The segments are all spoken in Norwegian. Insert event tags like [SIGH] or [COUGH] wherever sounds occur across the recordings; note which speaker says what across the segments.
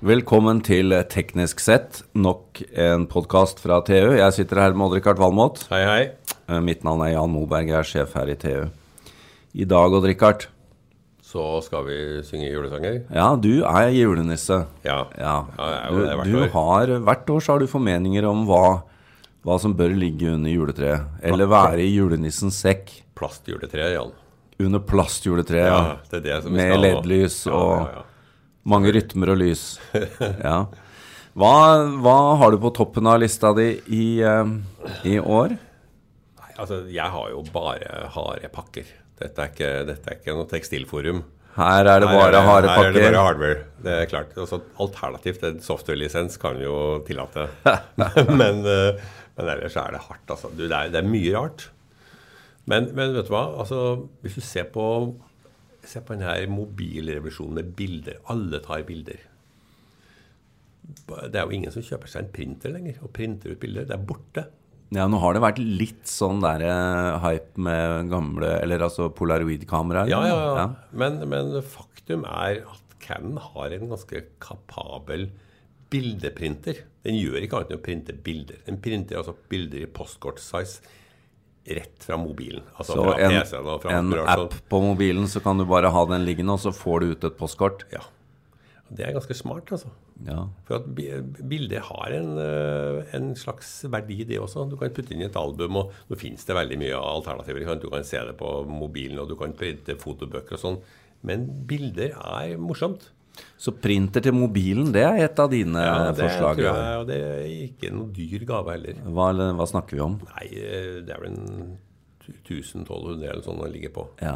Speaker 1: Velkommen til Teknisk sett, nok en podkast fra TU. Jeg sitter her med Odd-Rikard Valmot.
Speaker 2: Hei, hei.
Speaker 1: Eh, Mitt navn er Jan Moberg, jeg er sjef her i TU. I dag, Odd-Rikard,
Speaker 2: Så skal vi synge julesanger?
Speaker 1: ja, du er julenisse.
Speaker 2: Ja.
Speaker 1: Ja,
Speaker 2: Ja, jeg er jo
Speaker 1: du,
Speaker 2: det hvert
Speaker 1: du
Speaker 2: år.
Speaker 1: har hvert år så har du formeninger om hva, hva som bør ligge under juletreet. Eller være i julenissens sekk.
Speaker 2: Plastjuletre, Jan.
Speaker 1: Under plastjuletreet.
Speaker 2: Ja,
Speaker 1: Ja.
Speaker 2: det er det som vi
Speaker 1: Med
Speaker 2: skal nå.
Speaker 1: LED-lys
Speaker 2: Ja,
Speaker 1: og
Speaker 2: ja, ja.
Speaker 1: Mange rytmer og lys. Ja. Hva, hva har du på toppen av lista di i, eh, i år?
Speaker 2: Nei, altså, jeg har jo bare harde pakker. Dette er ikke, dette er ikke noe tekstilforum.
Speaker 1: Her er det
Speaker 2: Her
Speaker 1: bare harde
Speaker 2: her er det
Speaker 1: pakker.
Speaker 2: bare hardware. Det er klart. Altså, alternativt en software-lisens kan vi jo
Speaker 1: [LAUGHS]
Speaker 2: tillate. men, eh, men ellers er det hardt, altså. Du, det, er, det er mye rart. Men, men vet du hva? Altså, hvis du ser på, ser på denne mobilrevisjonen med bilder Alle tar bilder. Det er jo ingen som kjøper seg en printer lenger og printer ut bilder. Det er borte.
Speaker 1: Ja, nå har det vært litt sånn der eh, hype med gamle Eller altså polaroid-kameraer.
Speaker 2: Ja, ja, ja. Men, men faktum er at Canon har en ganske kapabel bildeprinter. Den gjør ikke annet enn å printe bilder. Den printer altså bilder i postkort-size rett fra mobilen. Altså
Speaker 1: Så
Speaker 2: fra
Speaker 1: en,
Speaker 2: PC-en og fra
Speaker 1: en
Speaker 2: brødskiva.
Speaker 1: app på mobilen, så kan du bare ha den liggende, og så får du ut et postkort.
Speaker 2: Ja. Det er ganske smart, altså.
Speaker 1: Ja.
Speaker 2: For at bi- bildet har en, eh, en slags verdi, det også. Du kan putte inn i et album, og nå finnes det veldig mye alternativer. ikke sant? Du kan se det på mobilen, og du kan printe fotobøker og sånn. Men bilder er morsomt.
Speaker 1: Så printer til mobilen, det er et av dine
Speaker 2: Ja, det
Speaker 1: forslag.
Speaker 2: tror
Speaker 1: ja.
Speaker 2: jeg, og det er ikke noe dyr gave heller.
Speaker 1: Hva, hva snakker vi om?
Speaker 2: Nei, eh, det er vel en 1000-1200 eller sånn den ligger på.
Speaker 1: Ja.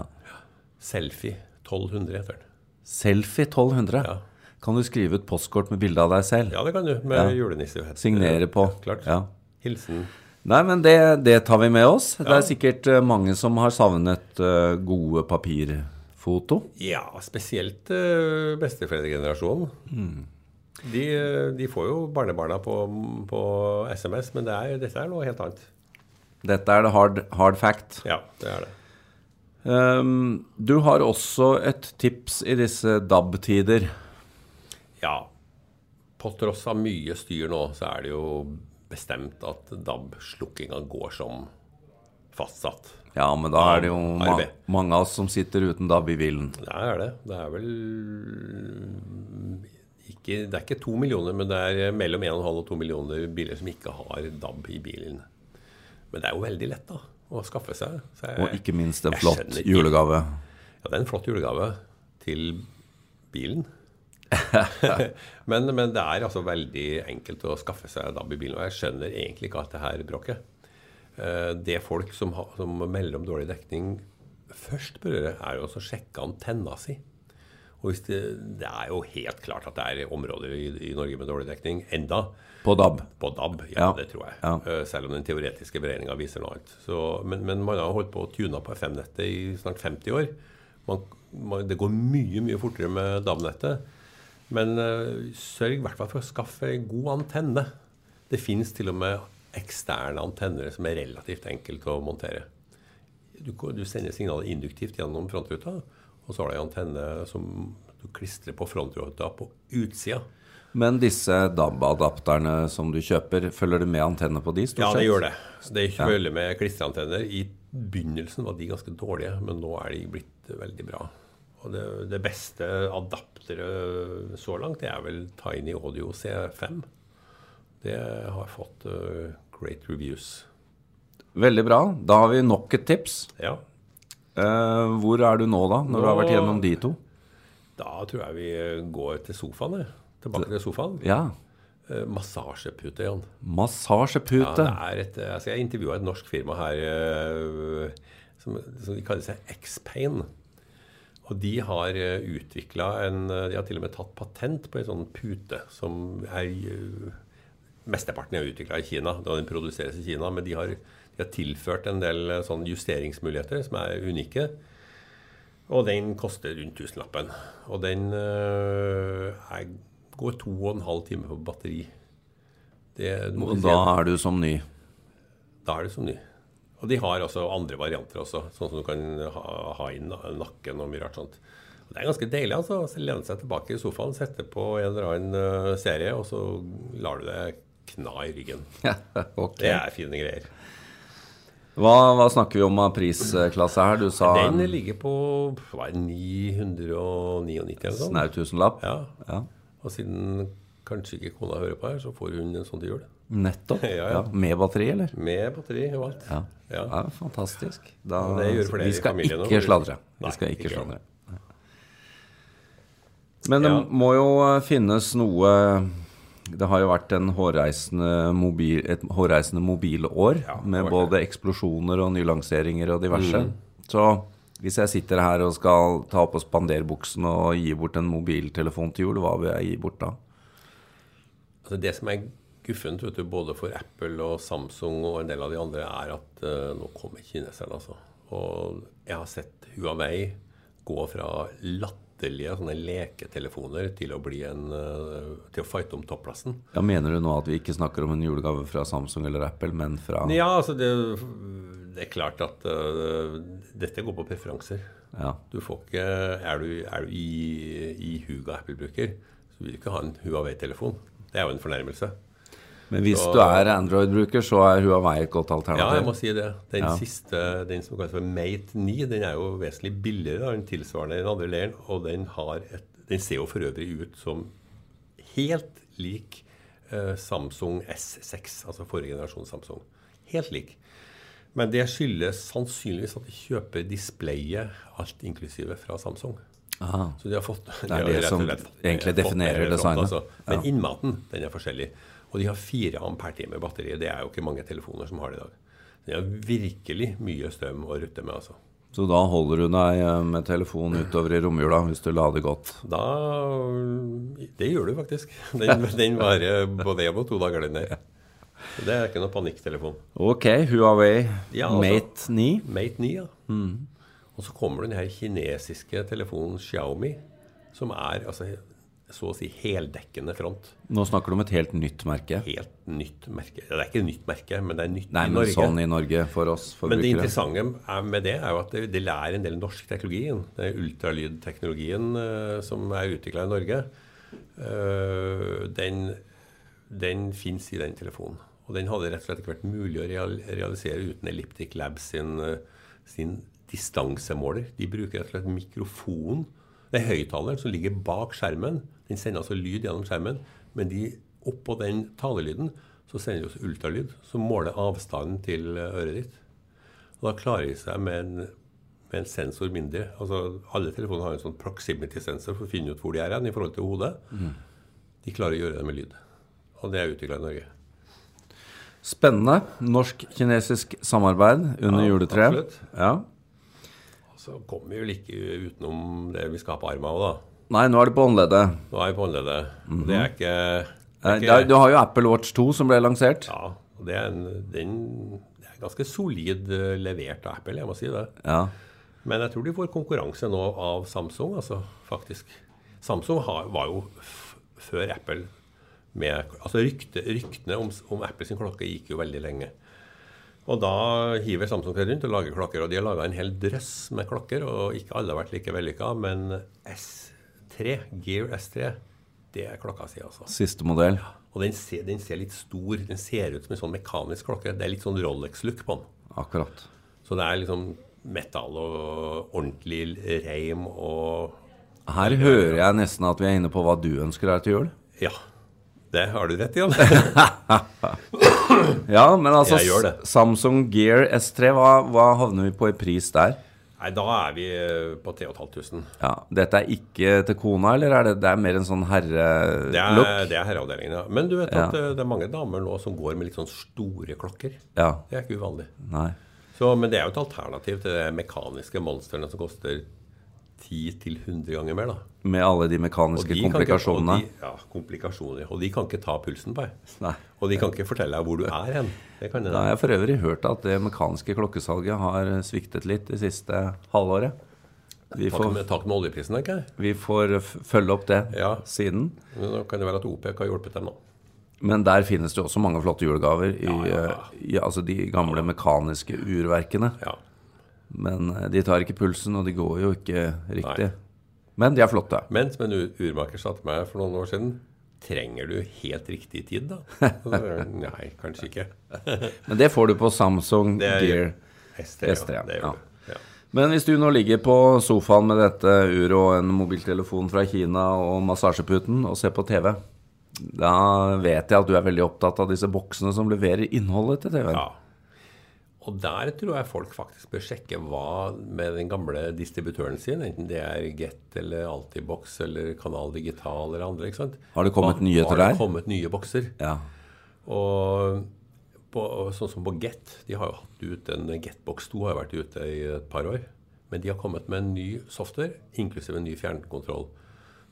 Speaker 2: Selfie 1200 heter den.
Speaker 1: Selfie 1200.
Speaker 2: Ja.
Speaker 1: Kan du skrive ut postkort med bilde av deg selv?
Speaker 2: Ja, det kan du, med julenisse. vet du.
Speaker 1: Signere på.
Speaker 2: Klart.
Speaker 1: Ja.
Speaker 2: Hilsen.
Speaker 1: Nei, men det, det tar vi med oss. Det er sikkert eh, mange som har savnet eh, gode papirfoto.
Speaker 2: Ja, spesielt eh, besteforeldregenerasjonen.
Speaker 1: Hmm.
Speaker 2: De, eh, de får jo barnebarna på, på SMS, men det er, dette er noe helt annet.
Speaker 1: Dette er det hard, hard fact.
Speaker 2: Ja, det er det.
Speaker 1: Ehm, du har også et tips i disse DAB-tider.
Speaker 2: Ja. På tross av mye styr nå, så er det jo bestemt at DAB-slukkinga går som fastsatt.
Speaker 1: Ja, men da er det jo ma
Speaker 2: Arbeid.
Speaker 1: mange av oss som sitter uten DAB i bilen.
Speaker 2: Det er det. Det er vel ikke, Det er ikke to millioner, men det er mellom 1,5 og 2 millioner biler som ikke har DAB i bilen. Men det er jo veldig lett da, å skaffe seg. Så jeg,
Speaker 1: Og ikke minst en
Speaker 2: Eh, Jeg
Speaker 1: flott
Speaker 2: skjønner ikke.
Speaker 1: julegave.
Speaker 2: Ja, det er en flott julegave til bilen. men, men det er altså veldig enkelt å skaffe seg DAB i bilen. Og jeg skjønner egentlig ikke at det her bråket. Eh, Det folk som, ha, som melder om dårlig dekning først bør gjøre, er jo også å sjekke antenna si. Og hvis det, det er jo helt klart at det er områder i, i Norge med dårlig dekning enda.
Speaker 1: På DAB.
Speaker 2: På DAB, ja,
Speaker 1: Ja,
Speaker 2: det tror jeg.
Speaker 1: ja.
Speaker 2: Eh, Selv om den teoretiske beregninga viser noe annet. Så, men, men man har holdt på å tune på FM-nettet i snart 50 år. Man, man, det går mye, mye fortere med DAB-nettet. Men eh, sørg i hvert fall for å skaffe en god antenne. Det fins til og med eksterne antenner som er relativt enkelt å montere. Du, ko- du sender signalet induktivt gjennom frontruta, og så har du ei antenne som du klistrer på frontruta på utsida.
Speaker 1: Men disse DAB-adapterne som du kjøper, følger det med antenne på de,
Speaker 2: Ja,
Speaker 1: stort sett?
Speaker 2: det gjør det. Så Det følger med klistreantenner. I begynnelsen var de ganske dårlige, men nå er de blitt veldig bra. Og det, det beste adapteret så langt, det er vel Tiny Audio C5. Det har fått eh, great reviews.
Speaker 1: Veldig bra. Da har vi nok et tips.
Speaker 2: Ja,
Speaker 1: Eh, hvor er du nå, da? Når du har vært gjennom de to?
Speaker 2: da tror jeg vi går til sofaen, jeg. Tilbake til sofaen.
Speaker 1: Ja.
Speaker 2: Eh, Massasjepute, Jan. Ja,
Speaker 1: Massasjepute.
Speaker 2: det er et, eh, altså jeg intervjua et norsk firma her eh, som, som de kaller seg X-Pain. Og de har utvikla en eh, De har til og med tatt patent på en sånn pute som er eh, Mesteparten er utvikla i Kina. og Den produseres i Kina. Men de har, de har tilført en del eh, sånn justeringsmuligheter som er unike. Og den koster rundt tusenlappen. Og den eh, er, går to og en halv time på batteri. Det, du må
Speaker 1: Og
Speaker 2: si
Speaker 1: da
Speaker 2: at-
Speaker 1: er du som ny.
Speaker 2: da er det som ny. altså Og de har også andre varianter også, sånn som du kan ha, ha i na- nakken og mye rart sånt. Og det er ganske deilig altså, å lene seg tilbake i sofaen, sette på en eller annen eh, serie, og så lar du det kna i ryggen.
Speaker 1: Ok.
Speaker 2: Det er fine greier.
Speaker 1: Hva, hva snakker vi om av prisklasse her? Du sa
Speaker 2: Den ligger på hva er det, 999 eller noe sånt.
Speaker 1: snau tusenlapp.
Speaker 2: sånn. Ja.
Speaker 1: Ja.
Speaker 2: Og siden kanskje ikke kona hører på her, så får hun en sånn til jul.
Speaker 1: Nettopp.
Speaker 2: Ja, ja.
Speaker 1: Ja, med batteri, eller?
Speaker 2: Med batteri og alt.
Speaker 1: Ja.
Speaker 2: Ja.
Speaker 1: ja, fantastisk. Da,
Speaker 2: Ja, det gjør flere
Speaker 1: vi
Speaker 2: i
Speaker 1: skal
Speaker 2: familien nå,
Speaker 1: ikke
Speaker 2: faktisk.
Speaker 1: sladre.
Speaker 2: Nei,
Speaker 1: Vi skal ikke
Speaker 2: ikke.
Speaker 1: sladre. Nei. Men det
Speaker 2: Ja.
Speaker 1: må jo eh, finnes noe Det har jo vært en hårreisende mobil, et hårreisende mobilår
Speaker 2: Ja, Mm. det
Speaker 1: med
Speaker 2: har vært
Speaker 1: både eksplosjoner og nylanseringer og diverse. Så hvis jeg sitter her og skal ta på spanderbuksen og gi bort en mobiltelefon til jul, hva vil jeg gi bort da?
Speaker 2: Altså det som er guffent vet du, både for Apple og Samsung og en del av de andre, er at eh, nå kommer kineserne, altså. Og jeg har sett Huawei gå fra latterlige sånne leketelefoner til å, bli en, eh, til å fighte om topplassen.
Speaker 1: Ja, Mener du nå at vi ikke snakker om en julegave fra Samsung eller Apple, men fra
Speaker 2: Ja, altså det, det er klart at eh, dette går på preferanser.
Speaker 1: Ja.
Speaker 2: Du får ikke, er du, er du i, i huga Apple-bruker, så vil du ikke ha en Huawei-telefon. Det er jo en fornærmelse.
Speaker 1: Men hvis
Speaker 2: Så-
Speaker 1: du er Android-bruker, så er Huawei et godt
Speaker 2: Ja, jeg
Speaker 1: alternativ.
Speaker 2: må si det. Den
Speaker 1: Ja.
Speaker 2: siste, den som kalles for Mate 9, den er jo vesentlig billigere da, enn tilsvarende i den andre leiren, og den, har et, den ser jo for øvrig ut som helt lik eh, Samsung S6, altså forrige generasjon Samsung. Helt lik. Men det skyldes sannsynligvis at de kjøper displayet, alt inklusive, fra Samsung.
Speaker 1: Aha.
Speaker 2: Så de har fått de
Speaker 1: er
Speaker 2: har
Speaker 1: det
Speaker 2: rett og
Speaker 1: som
Speaker 2: slett fått-
Speaker 1: egentlig
Speaker 2: fått det
Speaker 1: definerer
Speaker 2: helt
Speaker 1: designet.
Speaker 2: rått, Men innmaten, den er forskjellig. Og de har 4 ampere-time batteri. Det er jo ikke mange telefoner som har det i dag. De har virkelig mye strøm å rutte med, altså.
Speaker 1: Så da holder du deg eh, med telefonen utover i romjula hvis du lader godt.
Speaker 2: Da Det gjør du faktisk. Den,
Speaker 1: [LAUGHS]
Speaker 2: den varer både én og to dager, den der. Så det er ikke noe panikktelefon.
Speaker 1: Ok, Huawei
Speaker 2: Ja, altså-
Speaker 1: Mate 9.
Speaker 2: Mate 9, ja. Og så kommer den her kinesiske telefonen Xiaomi, som er altså så å si heldekkende front.
Speaker 1: Nå snakker du om et helt nytt merke.
Speaker 2: helt nytt merke. Det er ikke et nytt merke, men det er nytt
Speaker 1: Nei,
Speaker 2: i
Speaker 1: men
Speaker 2: Norge.
Speaker 1: sånn i Norge for oss
Speaker 2: men det
Speaker 1: forbrukere.
Speaker 2: interessante er- med det er jo at det, det lærer en del norsk teknologi. igjen. Det er ultralydteknologien eh, som er utvikla i Norge. eh, den den fins i den telefonen. Og den hadde rett og slett ikke vært mulig å real realisere uten Elliptic Labs sin, eh, sin distansemåler. De bruker rett og slett mikrofonen. Det er høyttaleren som ligger bak skjermen. Den sender altså lyd gjennom skjermen, men de oppå den talelyden så sender de også ultralyd, som måler avstanden til eh, øret ditt. Og da klarer de seg med en, med en sensor mindre. Altså, alle telefoner har en sånn proximity-sensor for å finne ut hvor de er hen i forhold til hodet. De klarer å gjøre det med lyd. Og det er utvikla i Norge.
Speaker 1: Spennende. Norsk-kinesisk samarbeid under
Speaker 2: Ja,
Speaker 1: juletreet.
Speaker 2: absolutt.
Speaker 1: Ja.
Speaker 2: Og så kommer vi vel ikke utenom det vi skal ha på armen òg, da.
Speaker 1: Nei, nå er det på åndleddet.
Speaker 2: Nå er vi på håndleddet. Og Det er ikke, det
Speaker 1: Eh,
Speaker 2: er
Speaker 1: da-
Speaker 2: ikke
Speaker 1: Du har jo Apple Watch 2 som ble lansert.
Speaker 2: Ja, og det er, en, den, det er ganske solid eh, levert av Apple, jeg må si det.
Speaker 1: Ja.
Speaker 2: Men jeg tror de får konkurranse nå av Samsung, altså faktisk. Samsung har, var jo f før Apple med Altså rykte, ryktene om, om Apples klokke gikk jo veldig lenge. Og da hiver Samsung seg rundt og lager klokker. Og de har laga en hel drøss med klokker, og ikke alle har vært like vellykka. Men S3, Gear S3, det er klokka si, altså.
Speaker 1: Siste modell.
Speaker 2: Og den ser, den ser litt stor Den ser ut som en sånn mekanisk klokke. Det er litt sånn Rolex-look på den.
Speaker 1: Akkurat.
Speaker 2: Så det er liksom metall og ordentlig reim og
Speaker 1: Her hører jeg nesten at vi er inne på hva du ønsker deg til jul.
Speaker 2: Ja. Det har du rett i, Jan.
Speaker 1: [LAUGHS] Ja, men altså
Speaker 2: Jeg gjør det.
Speaker 1: S- Samsung Gear S3, hva, hva havner vi på i pris der?
Speaker 2: Nei, da er vi eh, på 3500.
Speaker 1: Ja, Dette er ikke til kona, eller er det, det er mer en sånn
Speaker 2: Det
Speaker 1: herrelook?
Speaker 2: er, det er herreavdelingen, ja. Men du vet
Speaker 1: Ja.
Speaker 2: at eh, det er mange damer nå som går med litt sånn store klokker.
Speaker 1: Ja.
Speaker 2: Det er ikke uvanlig.
Speaker 1: Nei.
Speaker 2: Så, men det er jo et alternativ til de mekaniske monstrene som koster 10-100 ganger mer, da.
Speaker 1: Med alle de
Speaker 2: Og
Speaker 1: mekaniske
Speaker 2: de kan ikke-
Speaker 1: komplikasjonene.
Speaker 2: og de- Ja, komplikasjoner. Og de kan ikke ta pulsen på deg.
Speaker 1: Nei.
Speaker 2: Og de kan ikke fortelle deg hvor du er hen. Det kan
Speaker 1: Da
Speaker 2: hende.
Speaker 1: har jeg for øvrig hørt at det mekaniske klokkesalget har sviktet litt det siste halvåret. Vi
Speaker 2: Takk
Speaker 1: får,
Speaker 2: med, takk med oljeprisen, tenker jeg.
Speaker 1: vi får f- følge opp det
Speaker 2: Ja.
Speaker 1: siden.
Speaker 2: Men Nå kan det være at OPEC har hjulpet dem nå.
Speaker 1: Men der finnes det jo også mange flotte julegaver i,
Speaker 2: Ja, ja, ja.
Speaker 1: eh, i altså de gamle mekaniske urverkene.
Speaker 2: Ja.
Speaker 1: Men eh, de tar ikke pulsen, og de går jo ikke riktig. Men de er flotte.
Speaker 2: Men som en u- urmaker sa til meg for noen år siden Trenger du helt riktig tid, da? Og så sa jeg, Nei, kanskje ikke.
Speaker 1: Men det får du på Samsung
Speaker 2: Det er-
Speaker 1: Gear.
Speaker 2: ST, ja.
Speaker 1: ST, ja.
Speaker 2: Det
Speaker 1: Ja.
Speaker 2: gjør du. Ja.
Speaker 1: Men hvis du nå ligger på sofaen med dette uret og en mobiltelefon fra Kina og massasjeputen og ser på TV, da vet jeg at du er veldig opptatt av disse boksene som leverer innholdet til TV-en.
Speaker 2: Ja. Og der tror jeg folk faktisk bør sjekke hva med den gamle distributøren sin, enten det er Get eller Altibox eller Kanal Digital eller andre. ikke sant?
Speaker 1: Har det kommet
Speaker 2: Hva-
Speaker 1: nyheter
Speaker 2: Har
Speaker 1: der?
Speaker 2: det kommet nye bokser?
Speaker 1: Ja.
Speaker 2: Og på, og sånn som på Get, de har jo hatt ut en Getbox 2 har jo vært ute i et par år. Men de har kommet med en ny software, inklusiv en ny fjernkontroll.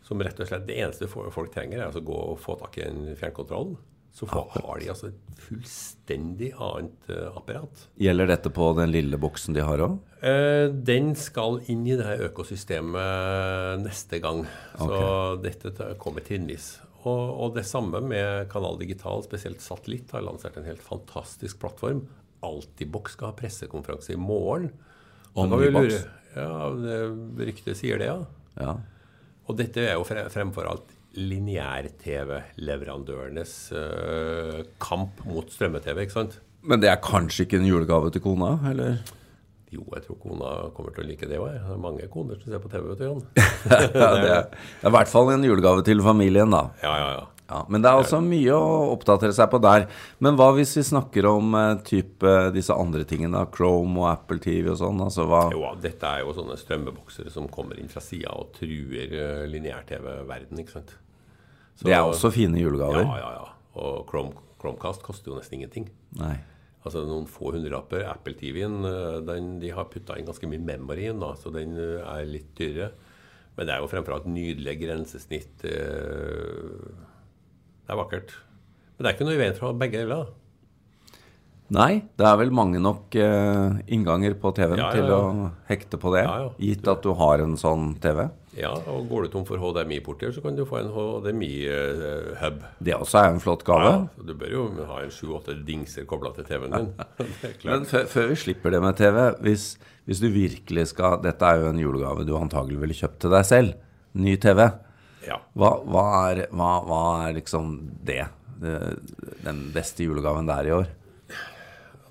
Speaker 2: Som rett og slett, Det eneste fo- folk trenger, er altså å gå og få tak i den fjernkontrollen. Så få, har de altså et fullstendig annet eh, apparat.
Speaker 1: Gjelder dette på den lille boksen de har òg?
Speaker 2: Eh, Den skal inn i det her økosystemet neste gang. Så dette ta- kommer trinnvis. Og, og det samme med Kanal Digital, spesielt Satellitt, har lansert en helt fantastisk plattform. Altibox skal ha pressekonferanse i morgen. Så
Speaker 1: Om
Speaker 2: kan vi
Speaker 1: Nybox?
Speaker 2: lure- Ja, det- ryktet sier det, ja.
Speaker 1: Ja.
Speaker 2: Og dette er jo fre- fremfor alt lineær-TV-leverandørenes eh, kamp mot strømme-TV, ikke sant?
Speaker 1: Men det er kanskje ikke en julegave til kona, eller? [LAUGHS]
Speaker 2: Jo, jeg tror kona kommer til å like det òg. Det er mange koner som ser på TV, vet du, Jan.
Speaker 1: Ja, det, er, det er i hvert fall en julegave til familien, da.
Speaker 2: Ja, ja, ja.
Speaker 1: Ja, men det er også mye å oppdatere seg på der. Men hva hvis vi snakker om eh, type disse andre tingene, da, Chrome og Apple TV og sånn? Altså hva
Speaker 2: Jo, dette er jo sånne strømmebokser som kommer inn fra sida og truer eh, lineær-TV-verden, ikke sant. Så-
Speaker 1: Det er også fine julegaver.
Speaker 2: Ja, ja, ja. Og Chrome, Chromecast koster jo nesten ingenting.
Speaker 1: Nei.
Speaker 2: Altså noen få hundrelapper. Apple TV-en eh, den, de har putta inn ganske mye memory i den, da, så den eh, er litt dyrere. Men det er jo fremfor alt nydelige grensesnitt. eh, Det er vakkert. Men det er ikke noe i veien for å ha begge deler. da.
Speaker 1: Nei, det er vel mange nok eh, innganger på TV-en
Speaker 2: Ja, ja,
Speaker 1: til
Speaker 2: ja.
Speaker 1: å hekte på det.
Speaker 2: Ja, ja.
Speaker 1: Gitt at du har en sånn TV.
Speaker 2: Ja, og går du tom for HDMI-porter, så kan du få en HDMI-hub.
Speaker 1: Det også er en flott gave.
Speaker 2: Ja, så du bør jo ha en sju-åtte dingser kobla til
Speaker 1: [LAUGHS]
Speaker 2: TV-en din. Det er klart.
Speaker 1: Men før, før vi slipper det med TV, hvis, hvis du virkelig skal Dette er jo en julegave du antagelig ville kjøpt til deg selv. Ny TV.
Speaker 2: Ja.
Speaker 1: Hva, hva, er, hva, hva er liksom det? Det- Den beste julegaven det er i år?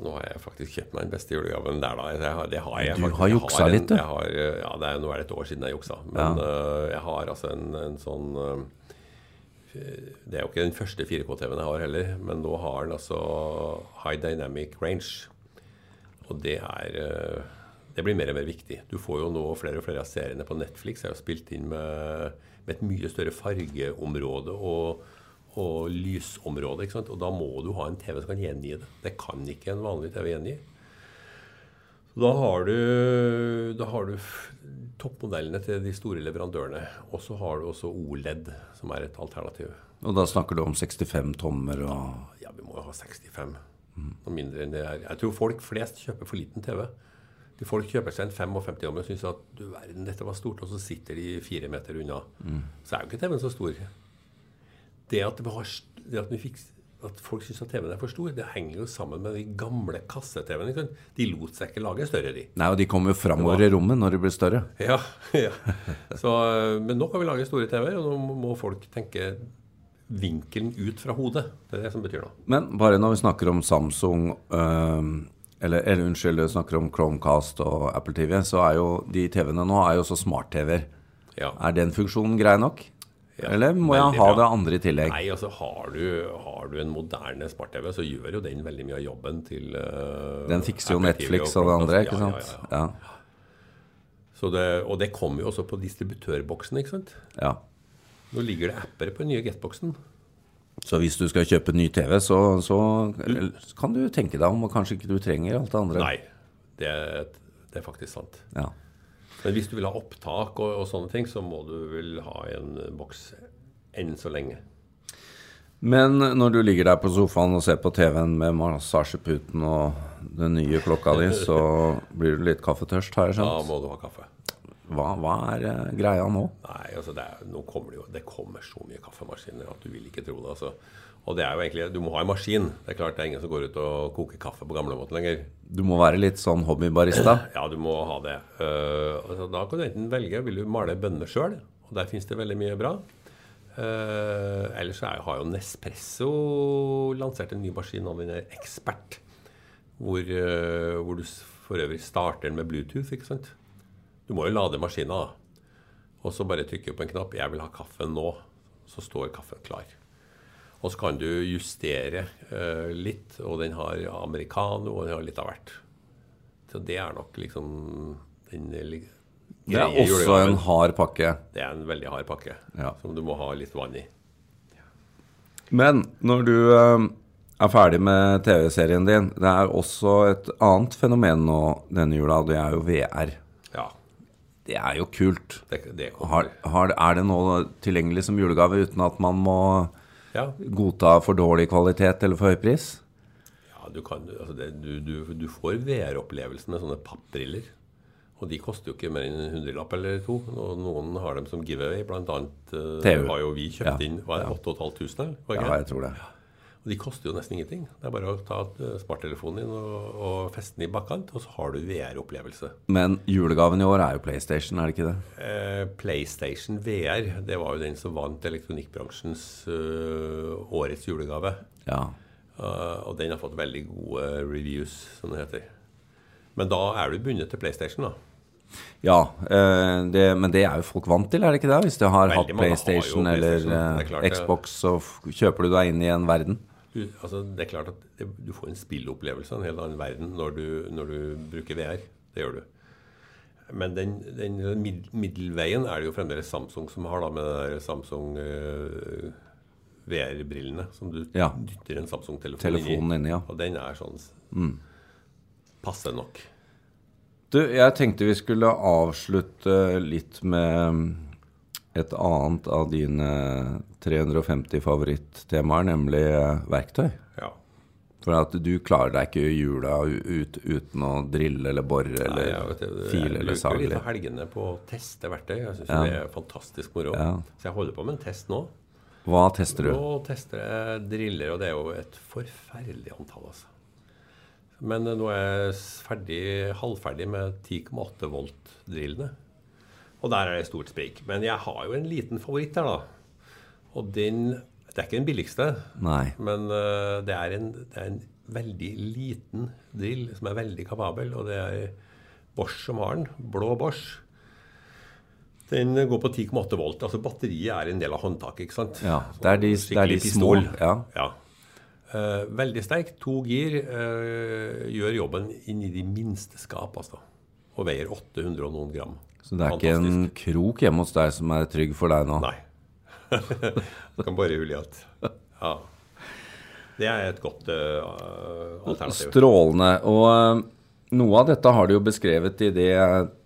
Speaker 2: Nå har jeg faktisk kjøpt meg den beste julegaven der, da. Jeg har, det har jeg
Speaker 1: Du
Speaker 2: faktisk.
Speaker 1: har
Speaker 2: Jeg
Speaker 1: juksa
Speaker 2: en-
Speaker 1: litt, du.
Speaker 2: Jeg har, eh, ja, det er, nå er det et år siden jeg juksa. Men eh, jeg har altså en, en sånn eh, Det er jo ikke den første 4K-TV-en jeg har heller, men nå har den altså High Dynamic Range. Og det er eh, Det blir mer og mer viktig. Du får jo nå flere og flere av seriene på Netflix. er jo spilt inn med, med et mye større fargeområde og, og lysområde. ikke sant? Og da må du ha en TV som kan gjengi det. Det kan ikke en vanlig TV gjengi. Da har du, da har du f- toppmodellene til de store leverandørene. Og så har du også OLED, som er et alternativ.
Speaker 1: Og da snakker du om 65 tommer og
Speaker 2: Ja, vi må jo ha 65. Noe mindre enn det er. Jeg tror folk flest kjøper for liten TV. De folk kjøper seg en 55 om og syns at du verden, dette var stort, og så sitter de fire meter unna. Så er jo ikke TV-en så stor. Det at, vi har, st- det at, vi fikk, at folk syns at TV-en er for stor, det henger jo sammen med de gamle kasse-TV-ene. ikke sant? De lot seg ikke lage større, de. [LAUGHS]
Speaker 1: Nei, og de kommer jo framover i rommet når de blir større.
Speaker 2: Ja, ja. Så, eh, men nå kan vi lage store TV-er, og nå må- må folk tenke vinkelen ut fra hodet. Det er det som betyr noe.
Speaker 1: Men bare når vi snakker om Samsung øhm, eller, eller unnskyld, vi snakker om Chromecast og Apple TV, så er jo de TV-ene nå er jo også smart-TV-er.
Speaker 2: Ja.
Speaker 1: Er den funksjonen grei nok?
Speaker 2: Ja,
Speaker 1: eller må jeg
Speaker 2: veldig
Speaker 1: ha
Speaker 2: bra.
Speaker 1: det andre i tillegg?
Speaker 2: Nei, altså har du, har du en moderne smart-TV, så gjør jo den veldig mye av jobben til eh,
Speaker 1: Den fikser jo
Speaker 2: Apple TV
Speaker 1: Netflix og det
Speaker 2: Chromecast.
Speaker 1: andre, ikke
Speaker 2: Ja,
Speaker 1: sant?
Speaker 2: Ja, ja, ja.
Speaker 1: Ja,
Speaker 2: Så det, og det kommer jo også på distributørboksen, ikke sant?
Speaker 1: ja.
Speaker 2: Nå ligger det apper på den nye Get-boksen.
Speaker 1: Så hvis du skal kjøpe ny TV, så, så eller, kan du tenke deg om, og kanskje ikke du trenger alt det andre.
Speaker 2: Nei, det, er- det er faktisk sant.
Speaker 1: Ja.
Speaker 2: Men hvis du vil ha opptak og, og sånne ting, så må du vel ha en eh, boks enn så lenge.
Speaker 1: Men når du ligger der på sofaen og ser på TV-en med massasjeputen
Speaker 2: [LAUGHS]
Speaker 1: og den nye klokka di, så blir du litt kaffetørst, har jeg
Speaker 2: Da
Speaker 1: skjønt.
Speaker 2: må du ha kaffe.
Speaker 1: Hva, hva er eh, greia nå?
Speaker 2: Nei, altså det er, nå kommer det jo Det kommer så mye kaffemaskiner at du vil ikke tro det. altså. Og det er jo egentlig, Du må ha en maskin. Det er klart det er ingen som går ut og koker kaffe på gamlemåten lenger.
Speaker 1: Du må være litt sånn hobbybarista.
Speaker 2: Ja, du må ha det. Eh, altså, da kan du enten velge vil du male bønner sjøl, og der fins det veldig mye bra. Uh, ellers så er, har jo Nespresso lansert en ny maskin av den der Expert, hvor, eh, hvor du s- for øvrig starter den med Bluetooth, ikke sant? Du må jo lade maskina, da. Og så bare trykker du på en knapp 'Jeg vil ha kaffe nå', så står kaffen klar. Og så kan du justere eh, litt, og den har americano, og den har litt av hvert. Så det er nok liksom den li-
Speaker 1: Det er
Speaker 2: [CLEARS THROAT] greie
Speaker 1: også
Speaker 2: julegaven.
Speaker 1: en hard pakke.
Speaker 2: Det er en veldig hard pakke
Speaker 1: Ja.
Speaker 2: som du må ha litt vann i.
Speaker 1: Men når du eh, er ferdig med TV-serien din, det er også et annet fenomen nå denne jula, og det er jo VR.
Speaker 2: Ja,
Speaker 1: Det er jo kult.
Speaker 2: det, det kommer.
Speaker 1: Har, har, er det nå tilgjengelig som julegave uten at man må
Speaker 2: Ja.
Speaker 1: godta for dårlig kvalitet eller for høy pris?
Speaker 2: ja, du kan altså det, du, du, du får VR-opplevelsen med sånne pappbriller. Og de koster jo ikke mer enn en hundrelapp eller to. Og noen har dem som giveaway, blant annet eh,
Speaker 1: TV.
Speaker 2: har jo vi
Speaker 1: Ja.
Speaker 2: kjøpt inn var det 8500 her.
Speaker 1: Ja, jeg tror det.
Speaker 2: Og de koster jo nesten ingenting. Det er bare å ta eh, smarttelefonen din og, og feste den i bakkant, og så har du VR-opplevelse.
Speaker 1: Men julegaven i år er jo PlayStation, er det ikke det?
Speaker 2: Eh, PlayStation VR, det var jo den som vant elektronikkbransjens eh, årets julegave.
Speaker 1: Ja.
Speaker 2: Eh, og den har fått veldig gode reviews, som det heter. Men da er du bundet til PlayStation, da.
Speaker 1: Ja, eh, det, men det er jo folk vant til, er det ikke det? Hvis de har
Speaker 2: Veldig
Speaker 1: hatt
Speaker 2: mange har jo
Speaker 1: PlayStation eller
Speaker 2: PlayStation,
Speaker 1: eh,
Speaker 2: det er klart det.
Speaker 1: Xbox, så f- kjøper du deg inn i en verden.
Speaker 2: Du, altså, det er klart at det, du får en spillopplevelse av en helt annen verden når du, når du bruker VR. Det gjør du. Men den, den mid, middelveien er det jo fremdeles Samsung som har, da, med det der Samsung eh, VR-brillene som du
Speaker 1: Ja.
Speaker 2: dytter en Samsung-telefon inn i.
Speaker 1: Telefonen inni, ja. Mm.
Speaker 2: Og den er sånn s- passe nok.
Speaker 1: Du, jeg tenkte vi skulle avslutte litt med mm, et annet av dine eh, 350 favorittemaer, nemlig eh, verktøy.
Speaker 2: Ja.
Speaker 1: For at du klarer deg ikke i jula u- ut, uten å drille eller bore
Speaker 2: Nei,
Speaker 1: eller
Speaker 2: jeg vet det, jeg
Speaker 1: file eller
Speaker 2: bruker litt
Speaker 1: sage.
Speaker 2: av helgene på å teste verktøy. Jeg syns
Speaker 1: Ja.
Speaker 2: det er fantastisk moro.
Speaker 1: Ja.
Speaker 2: Så jeg holder på med en test nå.
Speaker 1: Hva tester du?
Speaker 2: Nå tester jeg driller, og det er jo et forferdelig antall, altså. Men eh, nå er jeg s- ferdig, halvferdig med 10,8 volt-drillene. Og der er det stort sprik. Men jeg har jo en liten favoritt der, da. Og den Det er ikke den billigste,
Speaker 1: Nei.
Speaker 2: men eh, det, er en, det er en veldig liten drill som er veldig kapabel, og det er Bosch som har den. Blå Bosch. Den går på 10,8 volt. altså Batteriet er en del av håndtaket. ikke sant?
Speaker 1: Ja, det er de-
Speaker 2: Sånn
Speaker 1: det er de
Speaker 2: skikkelig
Speaker 1: små,
Speaker 2: pistol.
Speaker 1: ja.
Speaker 2: Eh, veldig sterk. To gir eh, gjør jobben inn i de minste skap, altså. Og veier 800 og noen gram.
Speaker 1: Så det er ikke en krok hjemme hos deg som er trygg for deg nå?
Speaker 2: Nei. [LAUGHS] Du kan bare rulle i alt. Ja. Det er et godt eh, alternativ.
Speaker 1: Strålende. Og eh, noe av dette har du jo beskrevet i det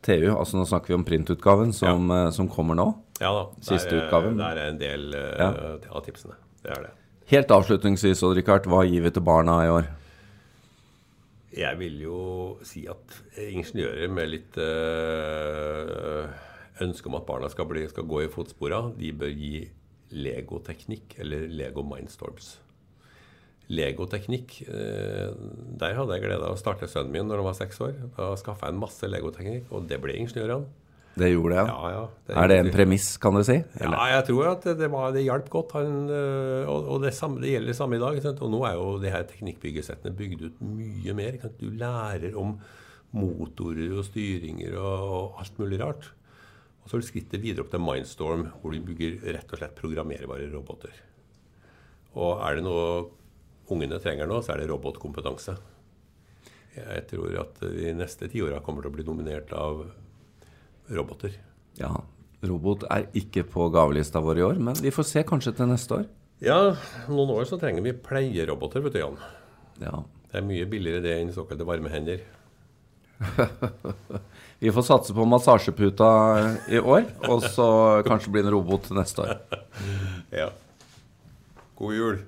Speaker 1: TU, altså nå snakker vi om printutgaven som, eh, som kommer nå.
Speaker 2: Ja da. der
Speaker 1: Siste
Speaker 2: er-
Speaker 1: utgaven.
Speaker 2: Der er en del eh, av tipsene. Det er det.
Speaker 1: Helt avslutningsvis, Odd-Rikard, hva gir vi til barna i år?
Speaker 2: Jeg vil jo si at ingeniører med litt eh, ønske om at barna skal, bli, skal gå i fotspora, de bør gi legoteknikk eller Lego Mindstorms. Legoteknikk eh, Der hadde jeg glede av å starte sønnen min når han var seks år. Da skaffa jeg en masse legoteknikk, og det ble ingeniørene.
Speaker 1: Det gjorde jeg.
Speaker 2: Ja, ja,
Speaker 1: Er det en premiss, kan du si?
Speaker 2: Ja, jeg tror at det, var, det hjalp godt. Han, øh, og og det, samme, det gjelder det samme i dag. ikke Sant? Og nå er jo det her teknikkbyggesettene bygd ut mye mer. Ikke sant? Du lærer om motorer og styringer og, og alt mulig rart. Og så er det skrittet videre opp til Mindstorm, hvor du bygger rett og slett programmerbare roboter. Og er det noe ungene trenger nå, så er det robotkompetanse. Jeg tror at de neste tiåra kommer til å bli dominert av roboter.
Speaker 1: Ja. Robot er ikke på gavelista vår i år, men vi får se kanskje til neste år.
Speaker 2: Ja, noen år så trenger vi pleieroboter, vet du, Jan.
Speaker 1: Ja.
Speaker 2: Det er mye billigere det enn såkalte varmehender.
Speaker 1: Vi får satse på massasjeputa i år, og så kanskje bli en robot til neste år.
Speaker 2: Ja. God jul.